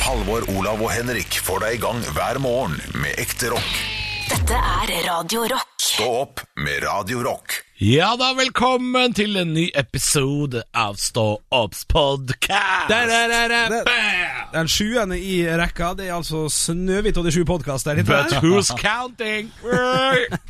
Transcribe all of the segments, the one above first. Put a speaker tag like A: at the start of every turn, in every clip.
A: Halvor, Olav og Henrik får deg i gang hver morgen med ekte rock.
B: Dette er Radio Rock.
A: Stå opp med Radio Rock.
C: Ja da, velkommen til en ny episode av Stå opps podcast.
D: Der, der, der, der. Den sjuende i rekka, det er altså Snøhvit og de sju podkaster.
C: But who's counting?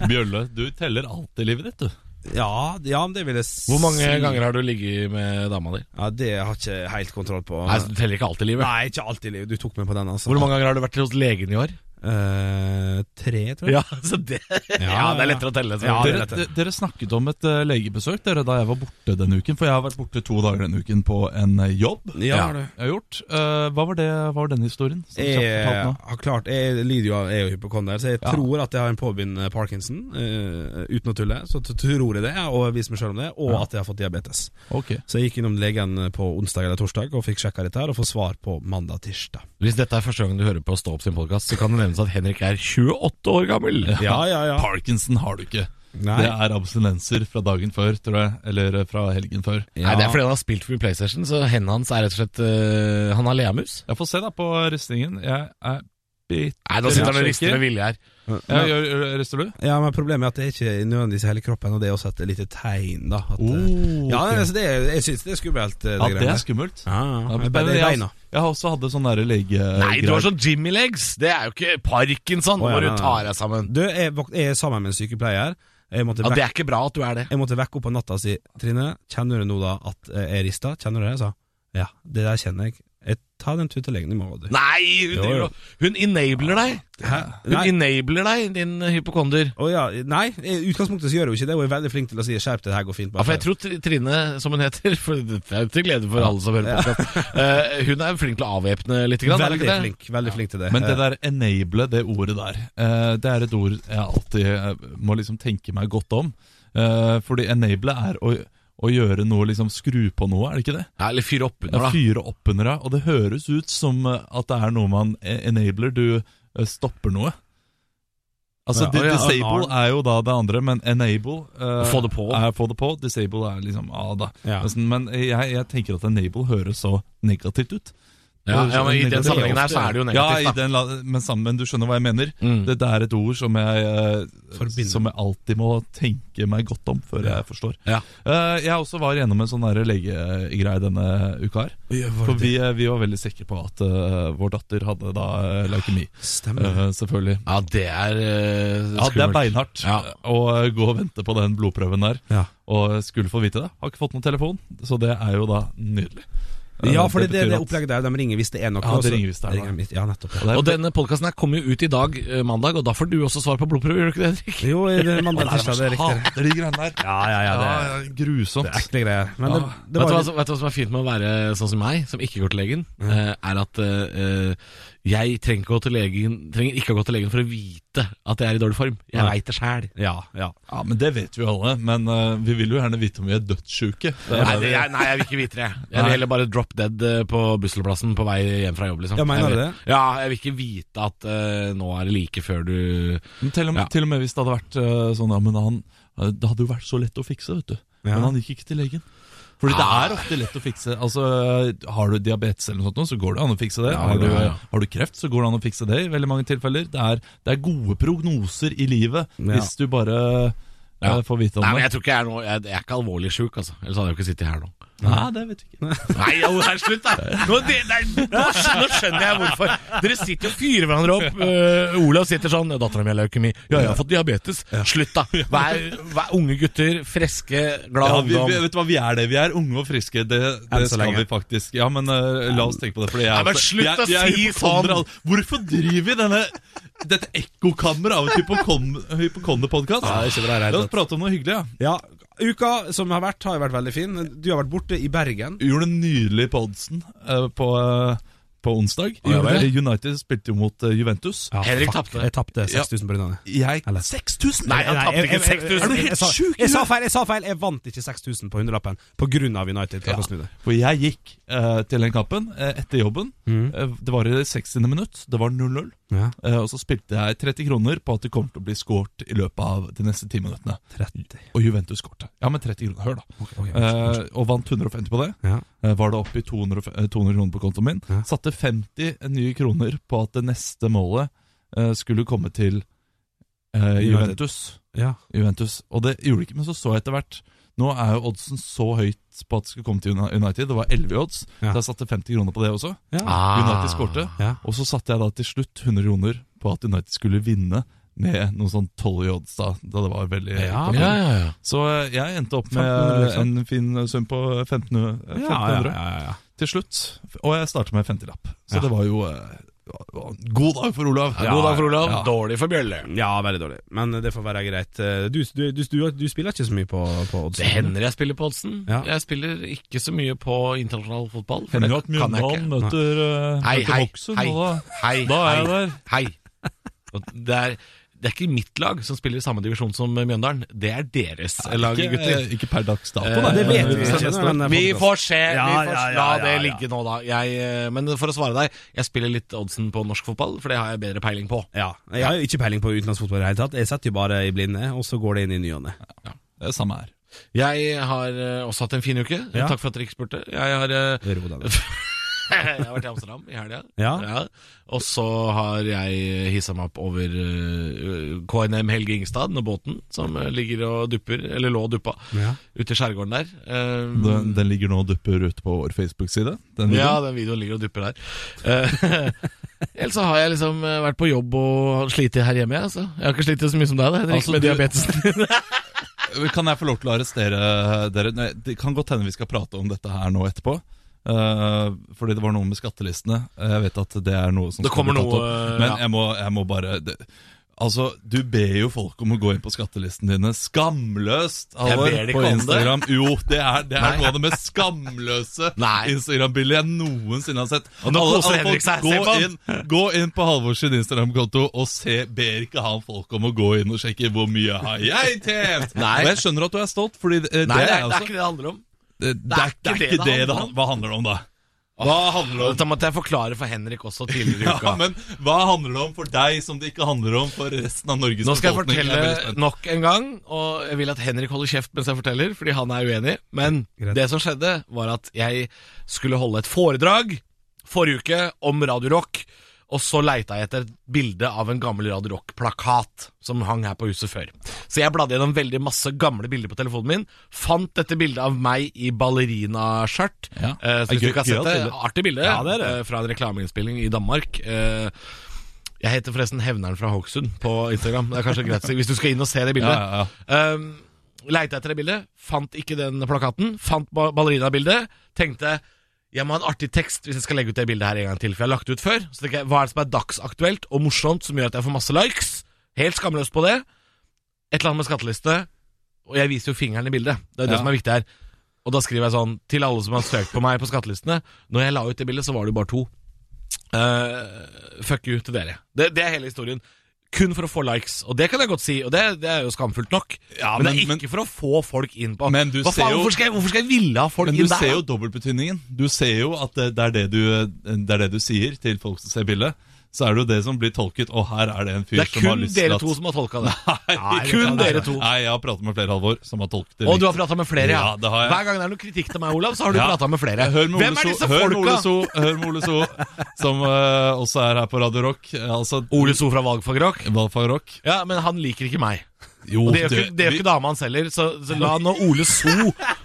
E: Bjølle, du teller alt i livet ditt, du.
D: Ja, ja, men det vil jeg si.
C: Hvor mange ganger har du ligget med dama di?
D: Ja, Det har jeg ikke helt kontroll på.
C: Nei, Du teller ikke alt i livet.
D: Nei, ikke alltid. Liv. Du tok meg på den, altså.
C: Hvor mange ganger har du vært hos legen i år?
D: Eh, tre, tror jeg.
C: Ja, så det, ja, det er lettere å telle. Så.
D: Ja, det er
E: Dere,
D: dette.
E: de- dere snakket om et eh, legebesøk dere da jeg var borte denne uken. For jeg har vært borte to dager denne uken på en eh, jobb.
D: Ja, har du.
E: Jeg har gjort. Eh, hva var det hva var denne historien? som kjapt
D: Jeg
C: Eh,
E: fortalt nå?
D: har klart Jeg lider jo av jeg er jo hypokonder, så jeg
E: Ja.
D: tror at jeg har en påbegynnende parkinson. eh, uten å tulle. Så t- tror jeg det, og jeg viser meg sjøl om det, og at jeg har fått diabetes.
E: Ok.
D: Så jeg gikk innom legen på onsdag eller torsdag og fikk sjekka dette her, og får svar på mandag-tirsdag.
C: Hvis dette er første gang du hører på Stå opp sin podkast, så kan det nevnes at Henrik er 28 år gammel.
D: Ja, ja, ja.
E: Parkinson har du ikke.
D: Nei.
E: Det er abstinenser fra dagen før, tror jeg. Eller eh, fra helgen før.
C: Nei, Det er fordi han har spilt for PlayStation, så hendene hans er rett og slett eh, Han har leamus.
E: Jeg får se da på ristingen. Jeg er bitt...
C: Nei, nå sitter han og rister med vilje her.
E: Ja, gjør- gjør- rister du?
D: Ja, men Problemet er at det er ikke nødvendigvis i hele kroppen, og det er også et lite tegn. da
C: Oh,
D: at, eh, ja,
E: ok.
D: altså, det er, Jeg syns det er skummelt. eh,
E: Ja,
D: greiene
E: det
D: der.
E: er skummelt.
D: Ja, ja,
E: Ja,
D: men
E: men
D: bare det er
E: jeg,
D: beina.
E: jeg har også hadde sånn derre lege...
C: Nei, du
E: greier.
C: har sånn Jimmy legs! Det er jo ikke parkinson!
D: Å, ja,
C: Hvor du
D: nei, nei.
C: tar deg sammen.
D: Du, jeg, våk- jeg er sammen med en sykepleier. Jeg måtte,
C: Ja,
D: vekk,
C: Det er ikke bra at du er det.
D: jeg måtte vekke opp på natta og si Trine, kjenner du nå da at eh, jeg rister? Kjenner du det? Jeg sa ja, det der kjenner jeg. jeg Ta den tutelegen i morgen, du.
C: Nei, hun,
D: Jo,
C: driver
D: jo.
C: og- hun enabler deg! Hun
D: Nei.
C: enabler deg, din hypokonder.
D: Å ja, nei, i utgangspunktet så gjør jeg jo ikke det. Hun er veldig flink til å si 'skjerp deg, det her går fint'.
C: Ja, for jeg tror Tr- Trine, som hun heter, for det er jo til glede for alle som hører på, eh, hun er flink til å avvæpne litt. Grann, er det
D: veldig
C: ikke det?
D: flink, veldig flink til det.
E: Men det
D: Eh,
E: der 'enable', det ordet der, eh, det er et ord jeg alltid eh, må liksom tenke meg godt om. Eh, Fordi 'enable' er å, å gjøre noe, liksom skru på noe, er det ikke det?
C: Ja, eller fyr opp under,
E: Ja,
C: da.
E: Fyre opp under deg. Og det høres ut som eh, at det er noe man eh, enabler, du eh, stopper noe. Altså,
D: Ja,
E: di-
D: og ja,
E: Disable
D: alarm.
E: er jo da det andre, men enable eh,
C: Få det på.
E: Er, få det på. Disable er liksom ah, da.
D: Ja.
E: Nesten, Men jeg, jeg tenker at enable høres så negativt ut.
C: Ja, ja, men I den
E: Negativt.
C: sammenhengen her så er det jo
E: Ja, i
C: negativt. Da.
E: den, la- men, sammen, men du skjønner hva jeg mener.
C: Mm.
E: Dette er et ord som jeg, eh,
D: Forbinder.
E: som jeg alltid må tenke meg godt om før jeg forstår.
C: Ja.
E: Eh, jeg også var gjennom en sånn der legegreie denne uka her.
C: Mm.
E: For vi, eh, vi var veldig sikre på at eh, vår datter hadde da eh, leukemi.
D: Stemmer.
E: Eh, selvfølgelig.
C: Ja, det er eh,
E: Ja, det er
C: skummelt.
E: beinhardt
C: Ja.
E: å eh, gå og vente på den blodprøven der.
D: Ja.
E: Og skulle få vite det. Har ikke fått noen telefon, så det er jo da nydelig. Eh,
D: Ja, for det, det,
E: betyr
D: det
E: at-
D: opplegget der, de ringer hvis det er noe.
E: Ja, de
D: og så-
E: ringer hvis det er
D: de
E: noe.
D: ringer hvis- Ja, nettopp.
E: Og det er-
C: Og denne podkasten kommer jo ut i dag, eh, mandag, og da får du også svar på blodprøve, gjør du ikke det, Henrik?
D: Jo, det er
E: Å,
D: mandag
E: nei,
D: tirsdag, det er
E: jeg
D: riktig.
E: Hater de greiene der.
D: Ja, ja, ja, det er,
E: Ja, grusomt.
D: det er ekle greier. Men det, det
C: vet, du
D: var
C: hva, som- vet du hva som er fint med å være sånn som meg, som ikke går til legen? eh, er at eh, eh, jeg trenger ikke, å gå til legen, trenger ikke å gå til legen for å vite at jeg er i dårlig form. Jeg
D: Nei.
C: veit det sjæl.
D: Ja, ja.
E: Ja, men Det vet vi jo alle, men eh, vi vil jo gjerne vite om vi er dødssjuke. Det er
C: Nei, det-
E: det vi-
C: jeg, nei, jeg vil ikke vite det. Jeg vil heller bare drop dead eh, på Busselplassen på vei hjem fra jobb. liksom
D: Ja, mener
C: Jeg
D: du
C: vil-
D: det?
C: Ja, jeg vil ikke vite at eh, nå er det like før du
E: Men til, og med,
C: Ja.
E: til og med hvis det hadde vært eh, sånn ja, men han, eh, Det hadde jo vært så lett å fikse, vet du.
D: Ja.
E: Men han gikk ikke til legen. Fordi det
C: Ah.
E: er ofte lett å fikse. Altså, eh, Har du diabetes, eller noe sånt, nå, så går det an å fikse det.
C: Ja,
E: har, du,
C: ja, ja.
E: har du kreft, så går det an å fikse det i veldig mange tilfeller. Det er, det er gode prognoser i livet
D: Ja.
E: hvis du bare eh,
C: Ja.
E: får vite om
C: Nei, men jeg
E: det.
C: tror ikke jeg er noe Jeg, jeg er ikke alvorlig sjuk, altså. Ellers hadde jeg jo ikke sittet her nå.
E: Nei, det vet vi ikke.
C: Nei, jo, her, slutt, da! Nå, det, det, er- nå, skj- nå skjønner jeg hvorfor. Dere sitter og fyrer hverandre opp. Eh, Olav sitter sånn 'Dattera mi har leukemi. Ja, jeg har fått diabetes.' Slutt, da! Vær, vær unge gutter. Freske, glad
E: Ja, vi,
C: ungdom.
E: vi, vet du hva, vi er det. Vi er unge og friske. Det, det
D: så
E: skal
D: lenge.
E: vi faktisk. Ja, men eh, la oss tenke på det. Fordi jeg,
C: Nei, men
E: også-
C: slutt å
E: jeg- jeg er
C: si
E: hypokonder,
C: sånn!
E: altså. Hvorfor driver vi denne dette ekkokammeret av et hypokonder-podkast?
D: Ja, det er altså. ikke bra i det hele
E: la oss
D: tatt.
E: prate om noe hyggelig. Ja.
D: ja. Uka som har vært, har jo vært veldig fin. Du har vært borte i Bergen.
E: Vi gjorde en nydelig podsen eh, på, eh, på onsdag.
C: Gjorde
E: Eh,
C: det?
E: United spilte jo mot eh, Juventus.
C: Henrik
D: fuck,
C: tapte.
D: Jeg tapte 6000 på Brynane.
E: Jeg
D: Eller-
E: 6000!
C: Nei, han tapte ikke
E: Er
C: 6000.
E: du helt
D: jeg sa-
E: sjuk i
D: Jeg sa
E: huet?
D: feil, jeg sa feil. Jeg vant ikke 6000 på hundrelappen på grunn av United. klarte å snu det.
E: For jeg
D: Mm.
E: gikk eh, til den kampen eh, etter jobben. Eh, det var i det 60. minutt. Det var 0-0.
D: Ja.
E: Eh, Og så spilte jeg 30 kroner på at det kommer til å bli skåret i løpet av de neste 10 minuttene.
D: 30.
E: Og Juventus skårte. Ja, men 30 kroner. Hør, da.
D: Ok, ok,
E: Eh, og vant 150 på det.
D: Ja.
E: Eh, var det oppe i 200, og f- eh, 200 kroner på kontoen min.
D: Ja.
E: Satte 50 nye kroner på at det neste målet eh, skulle komme til eh, Juventus.
D: ja.
E: Juventus. Og det gjorde det ikke, men så så jeg etter hvert. Nå er jo oddsen så høyt på at det skulle komme til Uni- United. Det var 11 i odds.
D: Ja.
E: Så jeg satte 50 kroner på det også.
D: ja.
C: Ah.
E: United skårte.
D: Ja.
E: Og så satte jeg da til slutt 100 kroner på at United skulle vinne med noen sånn 12 i odds, da, da det var veldig
D: Ja.
E: kort.
C: Ja, ja, ja.
E: Så eh, jeg endte opp med
D: 1500, liksom.
E: en fin sum på 1500, eh, 1500
D: Ja, ja, ja, ja.
E: til slutt. Og jeg startet med 50-lapp. Så
D: Ja.
E: det var jo eh, det var en God dag for Olav!
D: Ja, God dag for
C: Olav,
E: Ja.
C: dårlig for Bjølle.
D: Ja, veldig dårlig. Men det får være greit. Eh, Du, du, du, du, du spiller ikke så mye på, på odds?
C: Det hender jeg spiller på oddsen.
D: Ja.
C: Jeg spiller ikke så mye på internasjonal fotball. for
E: Hender
C: det
E: jo at
C: kan jeg
E: Mjøndalen
C: ikke.
E: møter, eh,
C: Hei,
E: møter
C: hei,
E: Hokksund,
C: hei,
E: og
C: hei,
E: da, da er jeg
C: hei,
E: der.
C: hei. Og Det er, det er ikke mitt lag som spiller i samme divisjon som Mjøndalen. Det er deres lag,
E: Ikke,
C: gutter.
E: eh, ikke per dags dato,
C: Eh, det vet vi
E: Men-
C: ikke. Vi får se.
D: Ja,
C: vi får
D: ja, ja, ja,
C: La det
D: ja.
C: ligge nå, da. Jeg, eh, men for å svare deg, jeg spiller litt oddsen på norsk fotball, for det har jeg bedre peiling på.
D: Ja, Jeg har jo ikke peiling på utenlandsfotball i det hele tatt. Jeg setter jo bare i blinde, og så går det inn i ny og ne.
E: Det er samme her.
C: Jeg har eh, også hatt en fin uke.
D: Ja.
C: Takk for at dere ikke spurte. Jeg har eh,
D: Ro deg ned.
C: jeg har vært i Amsterdam i helga.
D: Ja.
C: Og så har jeg hissa meg opp over eh, KNM Helge Ingstad og båten som eh, ligger og dupper, eller lå og duppa,
D: Ja.
C: ute i skjærgården der. Eh,
E: Den, den ligger nå og dupper ute på vår Facebook-side. Den
C: ja,
E: videoen.
C: den videoen ligger og dupper der. Eh, Ellers så har jeg liksom eh, vært på jobb og slitt her hjemme. jeg, Altså. Jeg har ikke slitt så mye som deg, da, Henrik,
E: Altså,
C: med
E: du-
C: diabetesen.
E: Kan jeg få lov til å arrestere dere? Nei, Det kan godt hende vi skal prate om dette her nå etterpå. Eh, fordi det var noe med skattelistene. Eh, Jeg vet at det er noe som
C: Det
E: skal bli
C: kommer
E: tatt
C: noe,
E: opp.
C: eh,
E: Men
C: ja.
E: jeg, må, jeg må bare det, Altså, du ber jo folk om å gå inn på skattelistene dine. Skamløst! Halvor,
C: Jeg ber de ikke
E: på
C: om det.
E: Instagram. Jo, det er, det er
C: Nei.
E: noe av det mest skamløse
C: Nei.
E: Instagram-bildet jeg noensinne har sett.
C: Og nå
E: Alle-
C: koser
E: alle
C: Henrik
E: folk,
C: seg. Se på
E: Gå
C: han.
E: inn, gå inn på Halvors sin Instagram-konto og se, ber ikke han folk om å gå inn og sjekke hvor mye har jeg tjent.
C: Nei.
E: Og jeg skjønner at du er stolt, fordi eh, det,
C: Nei, det er,
E: er,
C: det er
E: altså,
C: ikke det det handler om.
E: det, det er ikke det det,
C: handler
E: han-
C: om.
E: Hva handler det om, da? Hva handler det om?
C: Dette måtte jeg forklare for Henrik også tidligere i uka.
E: Ja, men hva handler det om for deg som det ikke handler om for resten av Norges
C: Nå skal jeg
E: befolkning?
C: fortelle
E: veldig spent.
C: nok en gang, og jeg vil at Henrik holder kjeft mens jeg forteller, fordi han er uenig. Men
D: Greit.
C: det som skjedde, var at jeg skulle holde et foredrag forrige uke om Radio Rock. Og så leita jeg etter et bilde av en gammel Radio Rock-plakat som hang her på huset før. Så jeg bladde gjennom veldig masse gamle bilder på telefonen min. Fant dette bildet av meg i ballerinaskjørt.
E: Ja.
C: Eh, så hvis
E: Gøy-
C: du ikke har sett
E: gøyalt
C: det,
E: bilde.
C: artig bilde
D: Ja, det er det.
C: eh, fra en reklameinnspilling i Danmark. Eh, jeg heter forresten Hevneren fra Hokksund på Instagram. Det er kanskje greit å si, Hvis du skal inn og se det
E: Ja,
C: bildet.
E: ja, ja.
C: Um, Leite etter det bildet, fant ikke den plakaten. Fant ba- ballerinabildet. Tenkte jeg må ha en artig tekst hvis jeg skal legge ut det bildet her en gang til. For jeg har lagt det ut før. Så tenker jeg, Hva er det som er dagsaktuelt og morsomt som gjør at jeg får masse likes? Helt skamløs på det. Et eller annet med skatteliste. Og jeg viser jo fingeren i bildet. Det er det
E: Ja.
C: som er viktig her. Og da skriver jeg sånn til alle som har søkt på meg på skattelistene. Når jeg la ut det bildet, så var det jo bare to. Eh, fuck you til dere. Det, det er hele historien. Kun for å få likes, og det kan jeg godt si, og det, det er jo skamfullt nok.
E: Ja,
C: men, det er
E: men-
C: ikke for å få folk inn på
E: Men du
C: Hva
E: ser
C: faen,
E: jo-
C: hvorfor, skal jeg, hvorfor skal jeg ville ha folk
E: Men
C: inn
E: du
C: der?
E: ser jo dobbeltbetydningen. Du ser jo at eh, det, det, er det, du, det er det du sier til folk som ser bildet. Så er det jo det som blir tolket. Og her er det en fyr
C: det er
E: som har
C: kun
E: lyst til
C: dere
E: at
C: to som har tolka det.
E: Nei,
C: Nei, kun
E: nei,
C: dere
E: nei.
C: to.
E: Nei, jeg har pratet med flere, Halvor, som har tolket det.
C: Og du har prata med flere, ja.
E: Ja, det har jeg.
C: Hver gang det er noe kritikk til meg, Olav, så har du
E: Ja.
C: pratet prata med flere.
E: Hør med Ole
C: Hvem er
E: So-
C: disse
E: hør med Ole
C: folka?
E: So, hør med Ole So som eh, også er her på Radio Rock. Eh, Altså,
C: Ole So fra Valgfagrock?
E: Valfag Rock.
C: Ja, men han liker ikke meg.
E: Jo,
C: Og det gjør
E: du,
C: ikke, det gjør
E: vi-
C: ikke dama hans heller, så, så la nå Ole So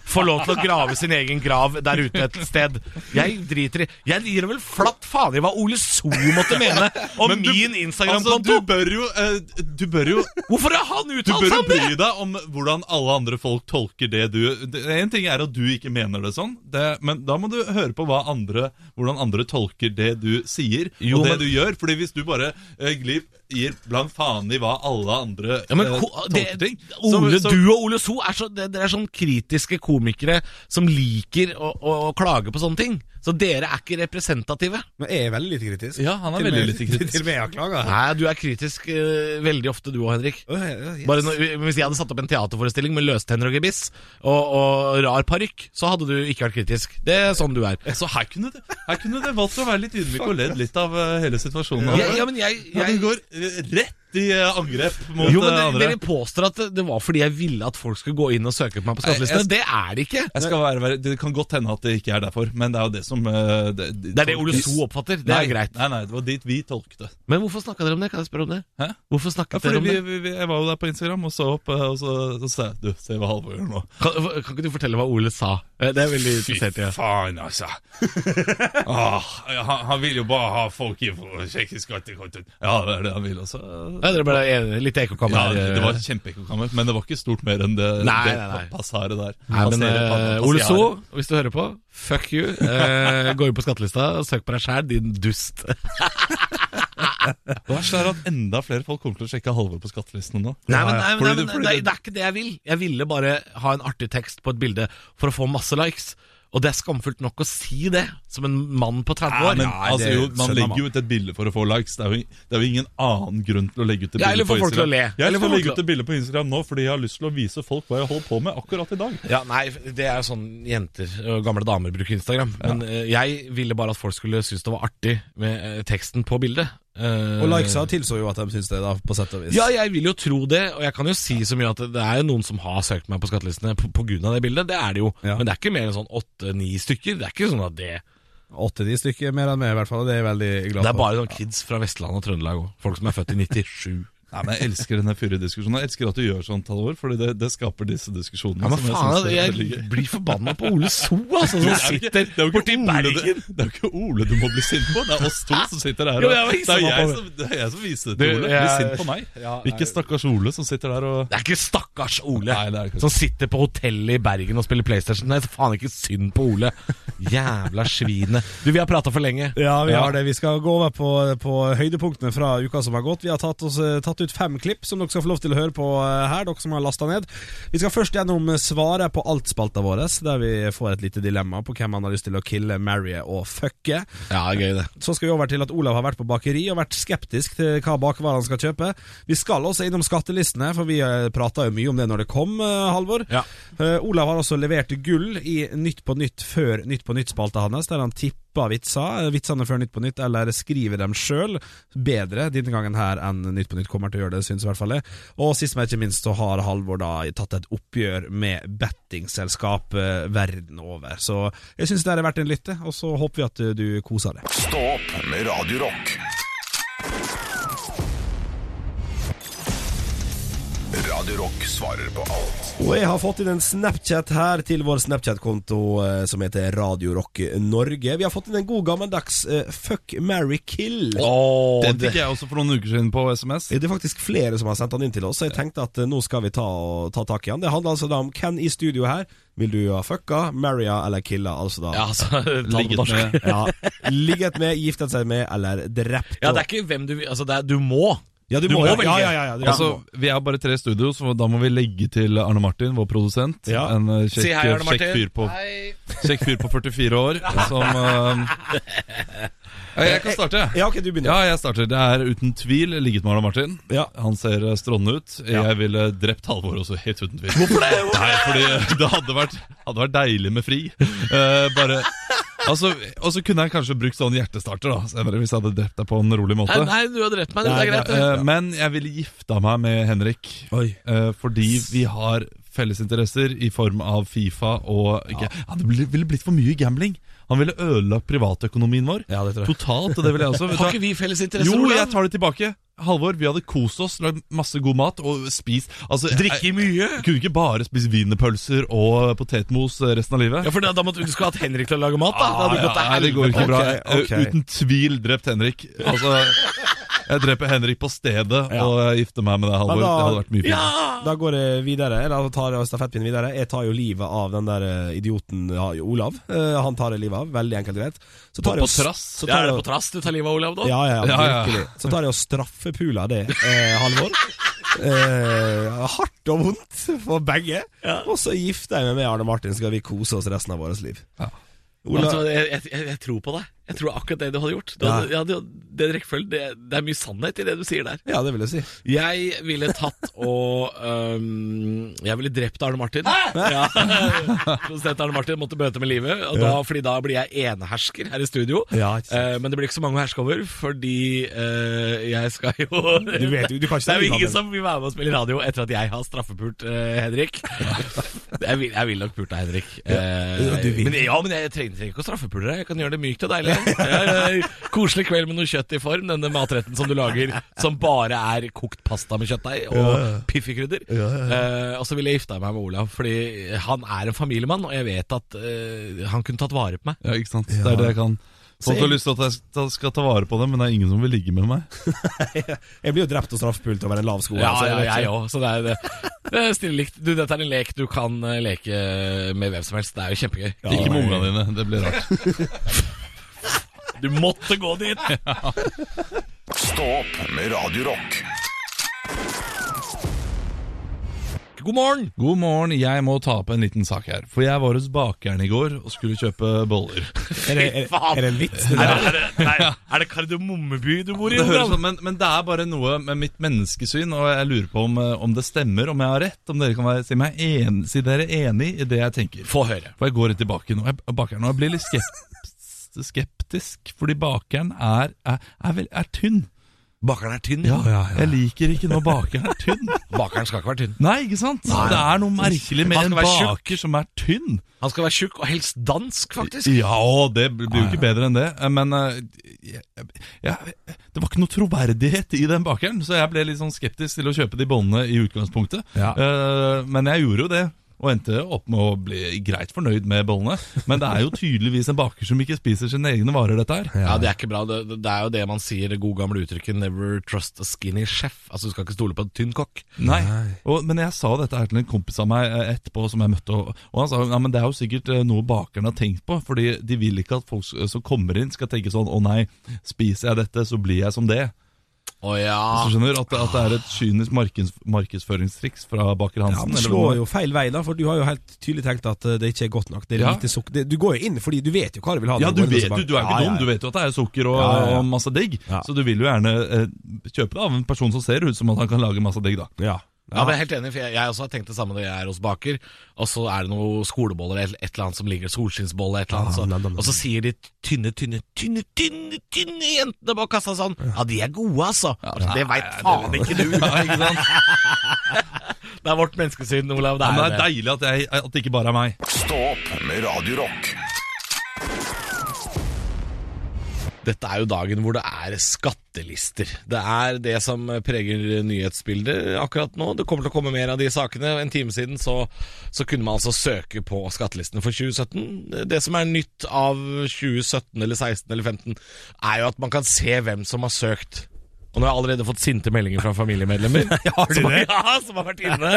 C: få lov til å grave sin egen grav der ute et sted. Jeg driter i Jeg gir vel flatt faen i hva Ole So måtte mene om
E: Men du-
C: min
E: altså, du
C: Instagram-konto!
E: bør jo, eh, du bør jo
C: Hvorfor har han
E: Du
C: uttalt
E: bør
C: seg
E: jo
C: om det?!
E: bry deg om hvordan alle andre folk tolker det du det- En ting er at du ikke mener det sånn, det, men da må du høre på hva andre, hvordan andre tolker det du sier,
C: Jo,
E: og det
C: men-
E: du gjør. Fordi hvis du bare eh, glir, gir blank faen i hva alle andre
C: Ja, men,
E: eh,
C: ko-
E: tolker
C: det,
E: ting så-
C: Ole,
E: så-
C: du og Ole So er så, det- dere er sånn kritiske komikere som liker å, å, å klage på sånne ting. Så dere er ikke representative.
D: Men jeg er veldig lite kritisk.
E: Ja, han er
D: Til og
E: veldig
D: med-
E: lite kritisk.
D: Til og med jeg har klaga.
C: Nei, du er kritisk eh, veldig ofte, du òg, Henrik.
D: Åh, ja, yes.
C: Bare når, hvis jeg hadde satt opp en teaterforestilling med løstenner og gebiss og, og rar parykk, så hadde du ikke vært kritisk. Det er sånn du er.
E: Så Altså, her kunne, det, her kunne det valgt å være litt ydmyk og ledd litt av eh, hele situasjonen.
C: Ja, ja, men jeg,
E: Ja,
C: jeg
E: du går eh, rett i eh, angrep mot
C: jo, men
E: eh,
C: dere,
E: andre.
C: dere påstår at det, det var fordi jeg ville at folk skulle gå inn og søke på meg på
E: Nei,
C: skattelistene.
E: jeg-
C: Det er det ikke.
E: Jeg skal være, være, det kan godt hende at det ikke er derfor, men det er jo det som eh, Det,
C: Det er det Ole So oppfatter. Det
E: nei,
C: er greit.
E: Nei, nei, det var dit vi tolkte.
C: Men hvorfor snakka dere om det? Kan jeg spørre om det?
E: Hæ?
C: Hvorfor snakket
E: Ja, fordi
C: dere om
E: vi,
C: det?
E: vi, vi, jeg var jo der på Instagram og så opp, eh, og så, så sa jeg Du, se hva Halvor gjør nå.
C: Kan, kan ikke du fortelle hva Ole sa? Eh, Det er veldig interessert i. ja.
E: faen, altså. Ah, han, vil jo bare ha folk inn for å sjekke skattekontoen. Ja, det er det han vil også.
C: Ja, dere ble enige. Litt
E: Ja,
C: ekokammer.
E: det var kjempeekkokammer, men det var ikke stort mer enn det,
C: Nei,
E: det
C: nei, nei.
E: passaret der.
C: Nei, men
E: Passere- pa-
C: eh,
E: passiare.
C: Ole So, hvis du hører på, fuck you. Eh, gå inn på skattelista og søk på deg sjæl, din dust.
E: Det verste er at enda flere folk kommer til å sjekke Halvor på skattelistene nå.
C: Nei, men, nei, men,
E: Fordi
C: nei, men
E: du-
C: det,
E: fordi du-
C: det er ikke det jeg vil. Jeg ville bare ha en artig tekst på et bilde for å få masse likes. Og det er skamfullt nok å si det, som en mann på 30
E: Ja,
C: år.
E: men
D: Nei,
E: altså,
D: det
E: jo,
D: skjønner
E: Man legger
D: man.
E: jo ut et bilde for å få likes. Det er jo, det er jo ingen annen grunn til å legge ut et
C: Ja, eller
E: bilde på
C: få folk til å le.
E: Instagram.
C: Eller
E: Jeg
C: få
E: skal
C: folk
E: legge
C: til
E: ut et bilde på Instagram nå fordi jeg har lyst til å vise folk hva jeg holder på med akkurat i dag.
C: Ja, nei, det er jo sånn jenter og gamle damer bruker Instagram. Men eh, jeg ville bare at folk skulle synes det var artig med eh, teksten på bildet. Eh,
D: Og likesa tilså jo at de syns det, da, på sett og vis.
C: Ja, jeg vil jo tro det, og jeg kan jo si så mye at det er jo noen som har søkt meg på skattelistene på, på grunn av det bildet, det er det jo.
D: Ja.
C: Men det er ikke mer enn sånn åtte-ni stykker. Det er ikke sånn at det
D: Åtte-ni stykker mer enn meg, i hvert fall. og Det er jeg veldig glad
C: Det er
D: for.
C: bare sånn kids fra Vestland og Trøndelag òg. Folk som er født i 97.
E: Nei, men Jeg elsker denne fyrediskusjonen. Jeg elsker at du gjør sånn, Talvor, fordi det, det skaper disse diskusjonene.
C: Ja, men
E: som jeg
C: faen,
E: synes er
C: jeg,
E: veldig gøy.
C: blir forbanna på Ole So, altså, som sitter
E: det er jo ikke
C: borti
E: Ole du-
C: Bergen.
E: det er jo ikke Ole du må bli sint på, det er oss to som sitter der.
C: Jo,
E: og-
C: jeg var
E: det,
C: ikke
E: er
C: sånn
E: jeg
C: på-
E: som, det er jeg som viser det
C: Du,
E: til Ole. Bli
C: jeg-
E: sint på meg.
C: Ja,
E: Ikke stakkars Ole som sitter der og
C: Det er ikke stakkars Ole
E: Nei, det er ikke
C: som sitter på hotellet i Bergen og spiller PlayStation. Nei, så faen ikke synd på Ole. Jævla svinet. Du, vi har prata for lenge.
D: Ja, vi har det. Vi skal gå over på, på høydepunktene fra uka som har gått. Vi har tatt, oss, eh, tatt ut fem klipp som dere skal få lov til å høre på eh, her, dere som har lasta ned. Vi skal først gjennom eh, svaret på alt-spalta vår, der vi får et lite dilemma på hvem man har lyst til å kille, marry og fucke.
C: Ja, gøy det.
D: Så skal vi over til at Olav har vært på bakeri og vært skeptisk til hva bakvarer han skal kjøpe. Vi skal også innom skattelistene, for vi prata jo mye om det når det kom, eh, Halvor.
C: Ja.
D: Eh, Olav har også levert gull i Nytt på Nytt før Nytt på Nytt-spalta hans, der han tippa vitser, eh, vitsene før Nytt på Nytt, eller skriver dem sjøl. Bedre denne gangen her enn Nytt på Nytt kommer til å gjøre det, syns i hvert fall jeg. Og sist, men ikke minst, så har Halvor da tatt et oppgjør med bettingselskap eh, verden over. Så jeg syns det her er verdt en lytte, og så håper vi at eh, du koser deg.
A: Stå opp med Radio Rock. Radio Rock svarer på alt.
F: Og jeg har fått inn en Snapchat her til vår Snapchat-konto eh, som heter Radio Rock Norge. Vi har fått inn en god gammeldags eh, Fuck, marry, kill.
E: Den fikk jeg også for noen uker siden på SMS.
F: Det er faktisk flere som har sendt han inn til oss, så jeg tenkte at eh, nå skal vi ta, og, ta tak i han. Det handler altså da om hvem i studio her vil du ha fucka, marrya eller killa? Altså da
C: Ja, altså, ta det på
E: Ligget
C: norsk.
E: med
F: ja, Ligget med, giftet seg med eller drept.
C: Ja, det er ikke hvem du vil Altså, det er du må.
F: Ja, du,
C: du
F: må,
C: må
F: ja,
C: velge.
F: Ja, ja, ja, du
E: Altså,
F: må.
E: Vi er bare tre i studio, så da må vi legge til Arne Martin, vår produsent.
F: Ja.
E: En eh, kjekk,
C: Si hei, Arne
E: kjekk,
C: Martin.
E: fyr på, kjekk fyr på 44 år som eh, Jeg kan starte, jeg.
F: ja, ok, du begynner.
E: Ja, jeg starter. Det er uten tvil ligget med Arne Martin.
F: Ja.
E: Han ser eh, strålende ut. Jeg ville drept Halvor også, helt uten tvil. Hvorfor det? Nei, fordi eh, det hadde vært, hadde vært deilig med fri. Eh, bare Altså, Og så kunne jeg kanskje brukt sånn hjertestarter, da, senere, hvis jeg hadde drept deg på en rolig måte.
C: Nei, nei, du har drept meg. Det er greit. det.
E: Eh, men jeg ville gifta meg med Henrik. eh, fordi vi har fellesinteresser i form av Fifa og ja. Det ble- ville blitt for mye gambling. Han ville ødelagt privatøkonomien vår.
D: Ja, det tror jeg.
E: Totalt, og det ville jeg også. Vet du hva?
C: Har ikke vi felles interesser,
E: Jo, jeg
C: Olav?
E: tar det tilbake. Halvor, vi hadde kost oss, lagd masse god mat og spist altså, jeg-
C: Drikke mye?
E: Jeg kunne ikke bare spise wienerpølser og potetmos resten av livet.
C: Ja, for da, da måtte du skulle hatt Henrik til å lage mat, da. Det hadde
E: Ah,
C: gått til
E: nei, det går ikke
C: helvete.
E: bra.
F: Ok, ok.
E: Eh, Uten tvil drept Henrik. Altså, jeg dreper Henrik på stedet og jeg gifter meg med deg, Halvor.
F: Ja, da-
E: Det hadde vært mye fint.
F: Da går jeg videre, da tar jeg stafettpinnen videre. Jeg tar jo livet av den der eh, idioten ja, Olav. Eh, han tar jeg livet av, veldig enkelt og greit. Så tar
E: På-
F: jeg
E: på
F: og s-
E: trass?
F: Så
C: Ja,
F: tar
C: er
F: jeg
C: det
F: og-
C: på trass du tar livet av Olav nå?
F: Ja, ja, ja,
E: Ja, ja.
F: virkelig. Så tar jeg og straffepuler det, eh, Halvor.
D: Eh, hardt og vondt for begge. Og så gifter jeg meg med Arne Martin, så skal vi kose oss resten av vårt liv. Ola,
G: Altså, jeg, jeg, jeg- jeg tror på deg. Jeg tror akkurat det du hadde gjort. Du hadde, ja. du, den rekkefølgen, det, det er mye sannhet i det du sier der.
D: ja, det vil jeg si.
G: Jeg ville tatt og øhm, Jeg ville drept Arne Martin. Ja. Prosent Arne Martin måtte bøte med livet, og da, Fordi da blir jeg enehersker her i studio.
D: Ja, ikke sant.
G: Eh, men det blir ikke så mange å herske over, fordi eh, jeg skal jo
D: Du vet jo- du
G: Det er
D: kan ikke
G: jo
D: stemme
G: ingen
D: navnet.
G: som vil være med og spille radio etter at jeg har straffepult eh, Henrik. jeg, vil, jeg vil nok pult deg, Henrik. Eh,
D: du vil.
G: men, ja, men jeg trenger, trenger ikke å straffepule deg. Jeg kan gjøre det mykt og deilig. Eh, koselig kveld med noe kjøtt i form. Denne matretten som du lager som bare er kokt pasta med kjøttdeig og piffikrydder. Eh, og så ville jeg gifta meg med Olav, fordi han er en familiemann, og jeg vet at eh, han kunne tatt vare på meg.
E: Ja, ikke sant? Det er det jeg kan. Folk har lyst til at jeg skal- skal ta vare på dem, men det er ingen som vil ligge med meg.
D: Jeg blir jo drept og straffepult over en lav sko.
G: Ja,
D: altså, jeg
G: ja,
D: vet ikke.
G: jeg òg. Så det er det. det er stille likt. Du, dette er en lek du kan eh, leke med hvem som helst. Det er jo kjempegøy.
E: Ikke med ungene dine, det blir rart.
G: Du måtte gå dit!
A: Stå opp med Radio Rock.
G: God morgen!
E: God morgen, jeg må ta opp en liten sak her. For jeg var hos bakeren i går og skulle kjøpe boller.
H: Er det, er, er det en vits? Det
C: Er
H: der?
C: det, er det, nei, er det Kardemommeby du bor i?
E: Det høres
C: Olav?
E: sånn, men, men det er bare noe med mitt menneskesyn, og jeg lurer på om, eh, om det stemmer, om jeg har rett. Om dere kan være, si, meg en, si dere er enig i det jeg tenker.
G: Få høre.
E: For jeg går rett til bakeren, og jeg, bakeren, og jeg blir litt skep- skeptisk, fordi bakeren er, er, er, vel, er tynn.
G: Bakeren er tynn.
E: Jeg liker ikke når bakeren er tynn.
G: Bakeren skal ikke være tynn.
E: Nei, ikke sant? Det er noe merkelig med
G: Han
E: en
G: skal være tjukk.
E: baker som er tynn.
G: Han skal være tjukk, og helst dansk, faktisk.
E: Ja, og det blir jo ikke bedre enn det. Men eh, jeg, jeg, det var ikke noe troverdighet i den bakeren, så jeg ble litt sånn skeptisk til å kjøpe de båndene i utgangspunktet.
H: Ja.
E: Eh, Men jeg gjorde jo det. Og endte opp med å bli greit fornøyd med bollene. Men det er jo tydeligvis en baker som ikke spiser sine egne varer, dette her.
G: Ja, Det er ikke bra. Det, det er jo det man sier, det gode gamle uttrykket 'never trust a skinny chef'. Altså, Du skal ikke stole på en tynn kokk.
E: Nei, og, men jeg sa dette her til en kompis av meg eh, etterpå som jeg møtte, og, og han sa ja, men det er jo sikkert eh, noe bakeren har tenkt på, fordi de vil ikke at folk s- som kommer inn skal tenke sånn, å nei, spiser jeg dette, så blir jeg som det.
G: Å ja.
E: Så skjønner du at, det- at det er et kynisk markeds, markedsføringstriks fra baker
D: Ja,
E: Hansen.
D: men det
E: eller
D: slår
E: hva?
D: jo feil vei, da, for du har jo helt tydelig tenkt at eh, det ikke er godt nok. Det er
E: Ja.
D: lite sukker. Det, du går jo inn fordi du vet jo hva du vil ha.
E: ja,
D: når
E: du,
D: går inn og så
E: vet, jo,
D: bare-
E: du er ikke
D: Ja, ja,
E: dum, du vet jo at det er sukker og,
D: Ja, ja, ja.
E: og masse digg,
D: Ja.
E: så du vil jo gjerne eh, kjøpe det av en person som ser ut som at han kan lage masse digg da.
D: Ja.
G: Ja, men jeg er helt enig, for jeg, jeg også har tenkt det samme når jeg er hos baker. Og så er det noen skoleboller eller et eller annet som ligger solskinnsbolle, et eller
D: Ah, nam,
G: annet.
D: nam,
G: Så,
D: nam.
G: og så sier de tynne, tynne, tynne, tynne tynne jentene bak kassa sånn Ja, de er gode, altså. Altså, det veit faen ikke du.
E: Ja, ikke sant?
G: Det er vårt menneskesyn, Olav. Det er
E: Men det er
G: det.
E: deilig at, jeg, at det ikke bare er meg.
A: Stå opp med Radio Rock.
G: Dette er jo dagen hvor det er skattelister. Det er det som preger nyhetsbildet akkurat nå. Det kommer til å komme mer av de sakene. En time siden så, så kunne man altså søke på skattelistene for 2017. Det som er nytt av 2017 eller 16 eller 15, er jo at man kan se hvem som har søkt. Og nå har jeg allerede fått sinte meldinger fra familiemedlemmer som, ja, som har vært inne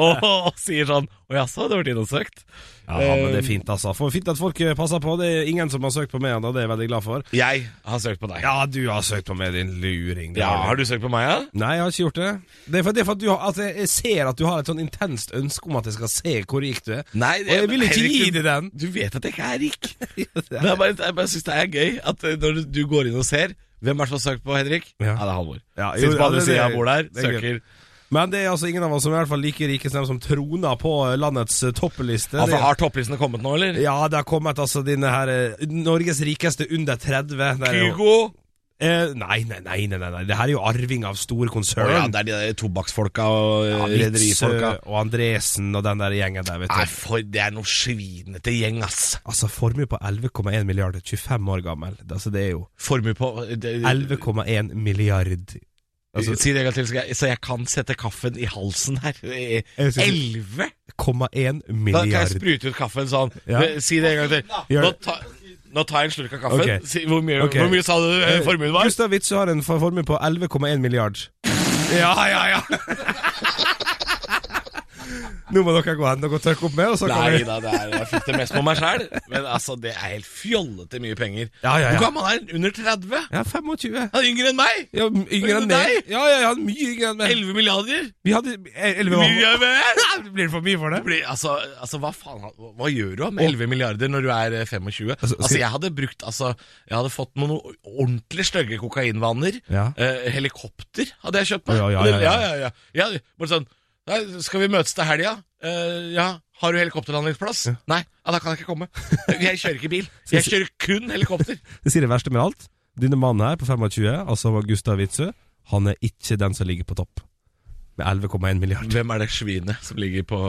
G: og, og sier sånn Å jaså, du har vært inne og søkt?
D: Ja, men det er fint, altså. For fint at folk eh, passer på. Det er ingen som har søkt på meg ennå, det er jeg veldig glad for.
G: Jeg har søkt på deg.
D: Ja, du har søkt på meg, din luring.
G: Ja, Har du søkt på meg, ja?
D: Nei, jeg har ikke gjort det. Det er for, det er for at du har, altså, jeg ser at du har et sånn intenst ønske om at jeg skal se hvor rik du er.
G: Nei,
D: Og jeg vil ikke
G: Henrik,
D: gi
G: du-
D: deg den.
G: Du vet at jeg ikke er rik. Men jeg bare, jeg bare syns det er gøy at eh, når du- du går inn og ser hvem er det som har søkt på Henrik?
D: Ja.
G: Ja, det er Halvor.
D: Ja, jo,
G: Sitter på
D: ja,
G: andre
D: det-
G: sida av bordet her,
D: det er
G: søker.
D: Men det er altså ingen av oss som er i hvert fall like rike som dem som troner på eh, landets eh, toppliste.
G: Altså,
D: Det-
G: har topplistene kommet nå, eller?
D: Ja, det har kommet altså dine her eh, Norges rikeste under 30. Der er jo-
G: Kygo.
D: Eh, nei, nei, nei, nei, nei, nei. Det her er jo arving av store
G: Å
D: konsern.
G: ja, det er de der tobakksfolka og eh,
D: Witzøe
G: rederifolka.
D: og Andresen og den der gjengen der, vet du.
G: Nei, for det er noe svinete gjeng, ass.
D: Altså, formue på 11,1 milliard, 25 år gammel. Altså, det er jo
G: Formue på eh, det-
D: 11,1 milliard. Altså,
G: Si det en gang til, så jeg, så jeg kan sette kaffen i halsen her. Eh,
D: Jeg synes-
G: Elleve? Da kan jeg
D: 11,1 milliard.
G: sprute ut kaffen sånn.
D: Ja.
G: Eh, Si det en gang til.
D: Gjør
G: Nå,
D: det.
G: ta, nå tar jeg en slurk av kaffen.
D: Ok.
G: Si, hvor, mye,
D: Ok.
G: hvor mye sa du eh, formuen var?
D: Gustav Witzøe har en for- formue på 11,1 milliard.
G: Ja, ja, ja.
F: Nå må dere gå hen og tørke opp med, og så kan
G: Nei
F: vi
G: da, det er, jeg fikk det mest på meg sjæl. Men altså, det er helt fjollete mye penger.
D: Ja, ja, ja.
G: Hvor gammel er den? Under 30?
F: Ja, 25.
G: Han er yngre enn meg!
F: Ja, yngre enn meg.
G: Deg?
F: Ja, ja, ja, mye yngre enn meg.
G: 11 milliarder?
F: Vi hadde eh, 11
G: Mye
F: år.
G: er mer.
F: Blir det for mye for det?
G: Blir- Altså, altså, hva faen hva- Hva gjør du med 11 milliarder når du er eh, 25? Altså, jeg hadde brukt Altså, jeg hadde fått noen ordentlig stygge kokainvaner.
D: Ja.
G: Eh, helikopter hadde jeg kjøpt meg.
D: Ja, ja, ja, ja.
G: ja, ja, ja. Jeg hadde bare sånn «Nei, Skal vi møtes til helga? Eh, ja. Har du helikopterlandingsplass? Nei. Ja, da kan jeg ikke komme. Jeg kjører ikke bil. Jeg kjører kun helikopter.
F: Det sier det verste med alt. Denne mannen her på 25, altså Gustav Witzøe, han er ikke den som ligger på topp. Med 11,1 milliarder.
G: Hvem er det svinet som ligger på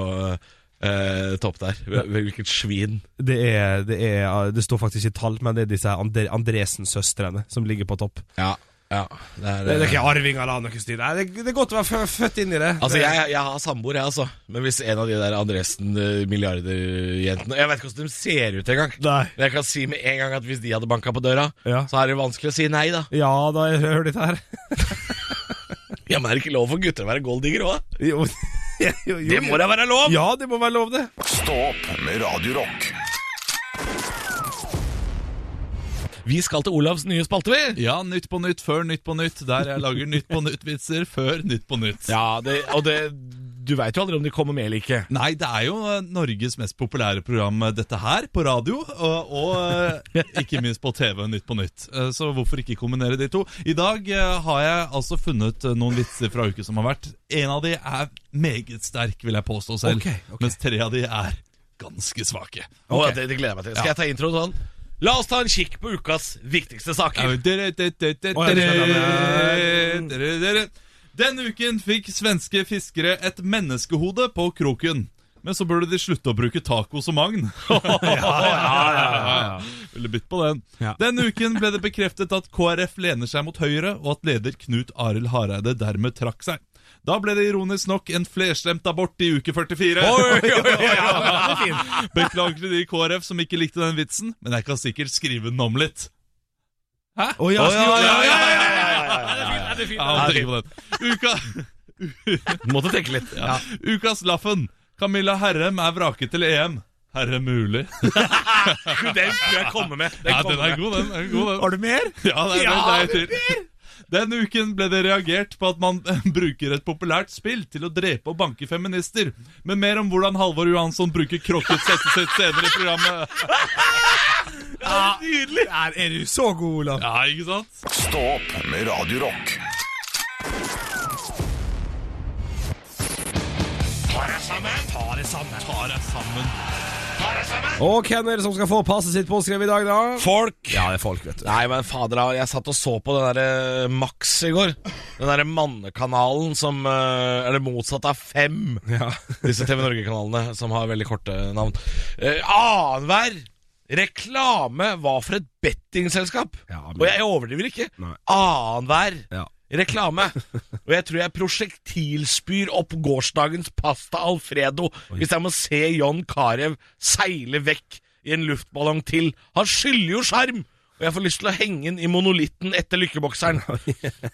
G: eh, topp der? Hvil- Hvilket svin?
F: Det, er, det, er, det står faktisk ikke tall, men det er disse her Andre- Andresen-søstrene som ligger på topp.
G: Ja, ja det er,
F: Det er
G: eh,
F: ikke arving eller noe styr. Nei, det, det er godt å være fø- født inn i det.
G: Altså, jeg, jeg har samboer, jeg, altså. Men hvis en av de der Andresen-milliarderjentene Jeg vet ikke hvordan de ser ut engang.
F: Nei.
G: Men jeg kan si med en gang at hvis de hadde banka på døra,
F: Ja.
G: så er det vanskelig å si nei, da.
F: Ja da, jeg hører dette her.
G: Ja, men er det ikke lov for gutter å være golddigger òg?
F: Jo, jo, jo.
G: Det må da være lov!
F: Ja, det må være lov, det.
A: Stå opp med Radio Rock.
G: Vi skal til Olavs nye spalte, vi.
E: Ja, Nytt på nytt før Nytt på nytt, der jeg lager Nytt på nytt-vitser før Nytt på nytt.
G: Ja, det, og det Du veit jo aldri om de kommer med eller ikke.
E: Nei, det er jo eh, Norges mest populære program, eh, dette her, på radio. Og, og eh, ikke minst på TV, Nytt på Nytt. Eh, Så hvorfor ikke kombinere de to? I dag eh, har jeg altså funnet eh, noen vitser fra uken som har vært. En av de er meget sterk, vil jeg påstå selv.
F: Ok, ok.
E: Mens tre av de er ganske svake.
G: Å, det, det gleder jeg meg til. Skal jeg ta introen sånn? La oss ta en kikk på ukas viktigste saker.
E: Denne uken fikk svenske fiskere et menneskehode på kroken. Men så burde de slutte å bruke taco som agn. Ville bytt på den.
D: Ja.
E: Denne uken ble det bekreftet at KrF lener seg mot Høyre, og at leder Knut Arild Hareide dermed trakk seg. Da ble det ironisk nok en flerstemt abort i uke 44. Beklager til de i KrF som ikke likte den vitsen, men jeg kan sikkert skrive den om litt. Hæ?
F: Å, ja,
E: Å, ja, ja, ja, ja, ja, ja.
C: Ja, det er fint.
E: Ja, må tenke på den. Uka,
G: Måtte tenke litt. Ja.
E: ukas Laffen. Camilla Herrem er vraket til EM. Herre mulig.
G: Den skulle jeg komme med. Den
E: Ja,
G: kommer
E: den er
G: med.
E: god, den. er god, den.
F: Har du mer?
E: Ja, det er, det er, det er til. Denne uken ble det reagert på at man bruker et populært spill til å drepe og banke feminister. Men mer om hvordan Halvor Johansson bruker krokket settet sitt senere i programmet.
F: Nydelig! Der er du så god, Olav.
E: Ja, ikke sant?
A: Stå opp med Radio Rock.
E: Ta deg sammen.
F: Og hvem er det som skal få passet sitt påskrevet i dag, da?
G: Folk!
F: Ja, det er folk, vet du.
G: Nei, men fader, jeg satt og så på den derre Max i går. Den derre mannekanalen som eh, er det motsatte av fem. Disse TV Norge-kanalene som har veldig korte navn. Uh, Annenhver reklame var for et bettingselskap.
F: Ja, men-
G: Og jeg overdriver ikke.
F: Nei.
G: Annenhver
F: Ja.
G: reklame. Og jeg tror jeg prosjektilspyr opp gårsdagens pasta Alfredo hvis jeg må se John Carew seile vekk i en luftballong til. Han skylder jo sjarm! Og jeg får lyst til å henge den i monolitten etter lykkebokseren.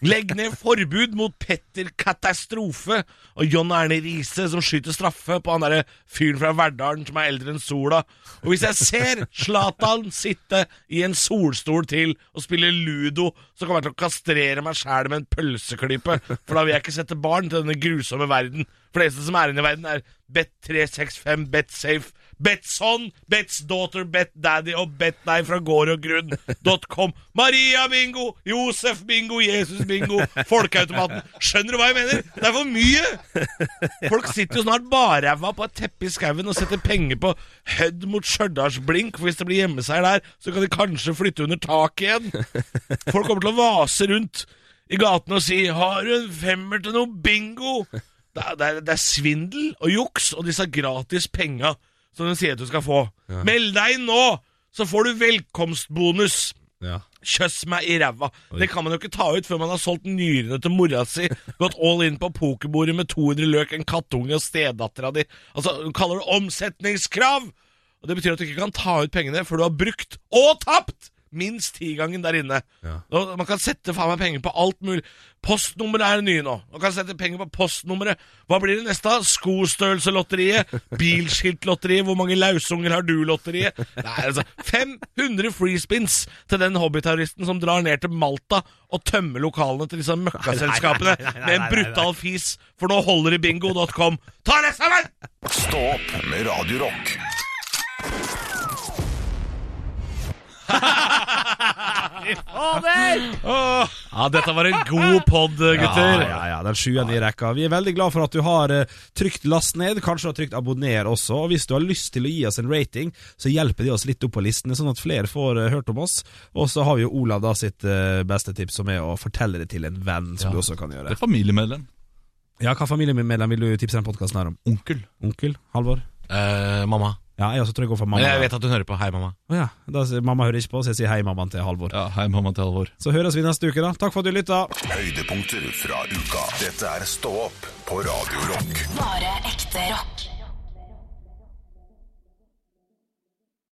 G: Legg ned forbud mot Petter Katastrofe og John Erne Riise som skyter straffe på han derre fyren fra Verdalen som er eldre enn sola. Og hvis jeg ser Zlatan sitte i en solstol til og spille ludo, så kommer jeg til å kastrere meg sjæl med en pølseklype. For da vil jeg ikke sette barn til denne grusomme verden. For det eneste som er inne i verden, er Bet365, Betsafe, Betson, Bets daughter, Bet daddy og Betnei fra gård og grunn.com. Maria bingo, Josef bingo, Jesus bingo, Folkeautomaten. Skjønner du hva jeg mener? Det er for mye! Folk sitter jo snart barræva på et teppe i skauen og setter penger på Hødd mot Stjørdalsblink, for hvis det blir gjemmeseier der, så kan de kanskje flytte under taket igjen. Folk kommer til å vase rundt i gatene og si 'Har du en femmer til noe bingo?' Det er, det, er, det er svindel og juks og disse gratis penga som de sier at du skal få. Meld deg inn nå, så får du velkomstbonus.
F: Ja.
G: Kjøss meg i ræva. Det kan man jo ikke ta ut før man har solgt nyrene til mora si, gått all in på pokerbordet med 200 løk, en kattunge og stedattera di. Altså, hun kaller det omsetningskrav! Og Det betyr at du ikke kan ta ut pengene før du har brukt og tapt minst tigangen der inne. Og Man kan sette faen meg penger på alt mulig. Postnummeret er nye nå. Man kan sette penger på postnummeret. Hva blir det neste? da? Skostørrelselotteriet. Bilskiltlotteriet. Hvor mange lausunger har du-lotteriet. Nei, altså 500 freespins til den hobbyterroristen som drar ned til Malta og tømmer lokalene til disse møkkaselskapene med en brutal fis, for nå holder det bingo.com. Ta deg sammen!
A: Stå opp med Radio Rock.
G: Ja, dette var en god pod, gutter.
D: Ja, ja, ja, den sjuende i rekka. Vi er veldig glad for at du har eh, trykt last ned, kanskje du har trykt abonner også. Og hvis du har lyst til å gi oss en rating, så hjelper det oss litt opp på listene, sånn at flere får eh, hørt om oss. Og så har vi jo Olav da sitt eh, beste tips, som er å fortelle det til en venn, som du også kan
E: Det
D: gjøre.
E: er familiemedlem.
D: Ja, hva familiemedlem vil du tipse denne podkasten her om?
E: Onkel.
D: Onkel? Halvor?
G: Eh, mamma.
D: Ja, jeg også tror jeg går for
G: Men
D: mamma.
G: jeg vet at hun hører på. Hei, mamma.
D: Å ja, da, sier- mamma hører ikke på, så jeg sier hei, mammaen til Halvor.
E: Ja, Hei, mamma til Halvor.
D: Så høres vi neste uke, da. Takk for at du lytta.
A: Høydepunkter fra uka. Dette er Stå opp på Radio Rock.
B: Bare ekte rock.